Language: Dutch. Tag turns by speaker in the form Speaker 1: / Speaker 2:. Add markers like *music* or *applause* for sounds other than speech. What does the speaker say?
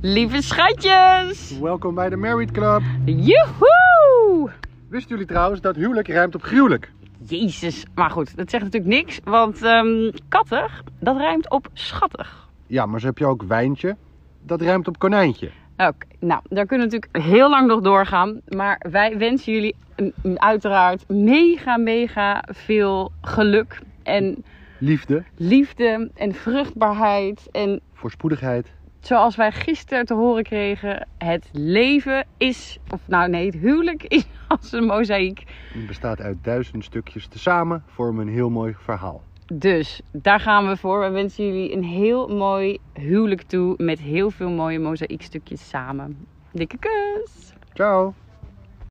Speaker 1: Lieve schatjes!
Speaker 2: Welkom bij de Married Club.
Speaker 1: Joehoe!
Speaker 2: Wisten jullie trouwens dat huwelijk ruimt op gruwelijk?
Speaker 1: Jezus, maar goed, dat zegt natuurlijk niks, want ehm, kattig, dat rijmt op schattig.
Speaker 2: Ja, maar zo heb je ook wijntje. Dat ruimt op konijntje.
Speaker 1: Oké, nou, daar kunnen we natuurlijk heel lang nog doorgaan, maar wij wensen jullie een- een uiteraard mega, mega veel geluk en
Speaker 2: Liefde,
Speaker 1: liefde en vruchtbaarheid en
Speaker 2: voorspoedigheid.
Speaker 1: zoals wij gisteren te horen kregen, het leven is, of nou nee, het huwelijk is *laughs* als een mozaïek.
Speaker 2: Het bestaat uit duizend stukjes tezamen, vormen een heel mooi verhaal.
Speaker 1: Dus daar gaan we voor. We wensen jullie een heel mooi huwelijk toe met heel veel mooie mozaïekstukjes samen. Dikke kus!
Speaker 2: Ciao!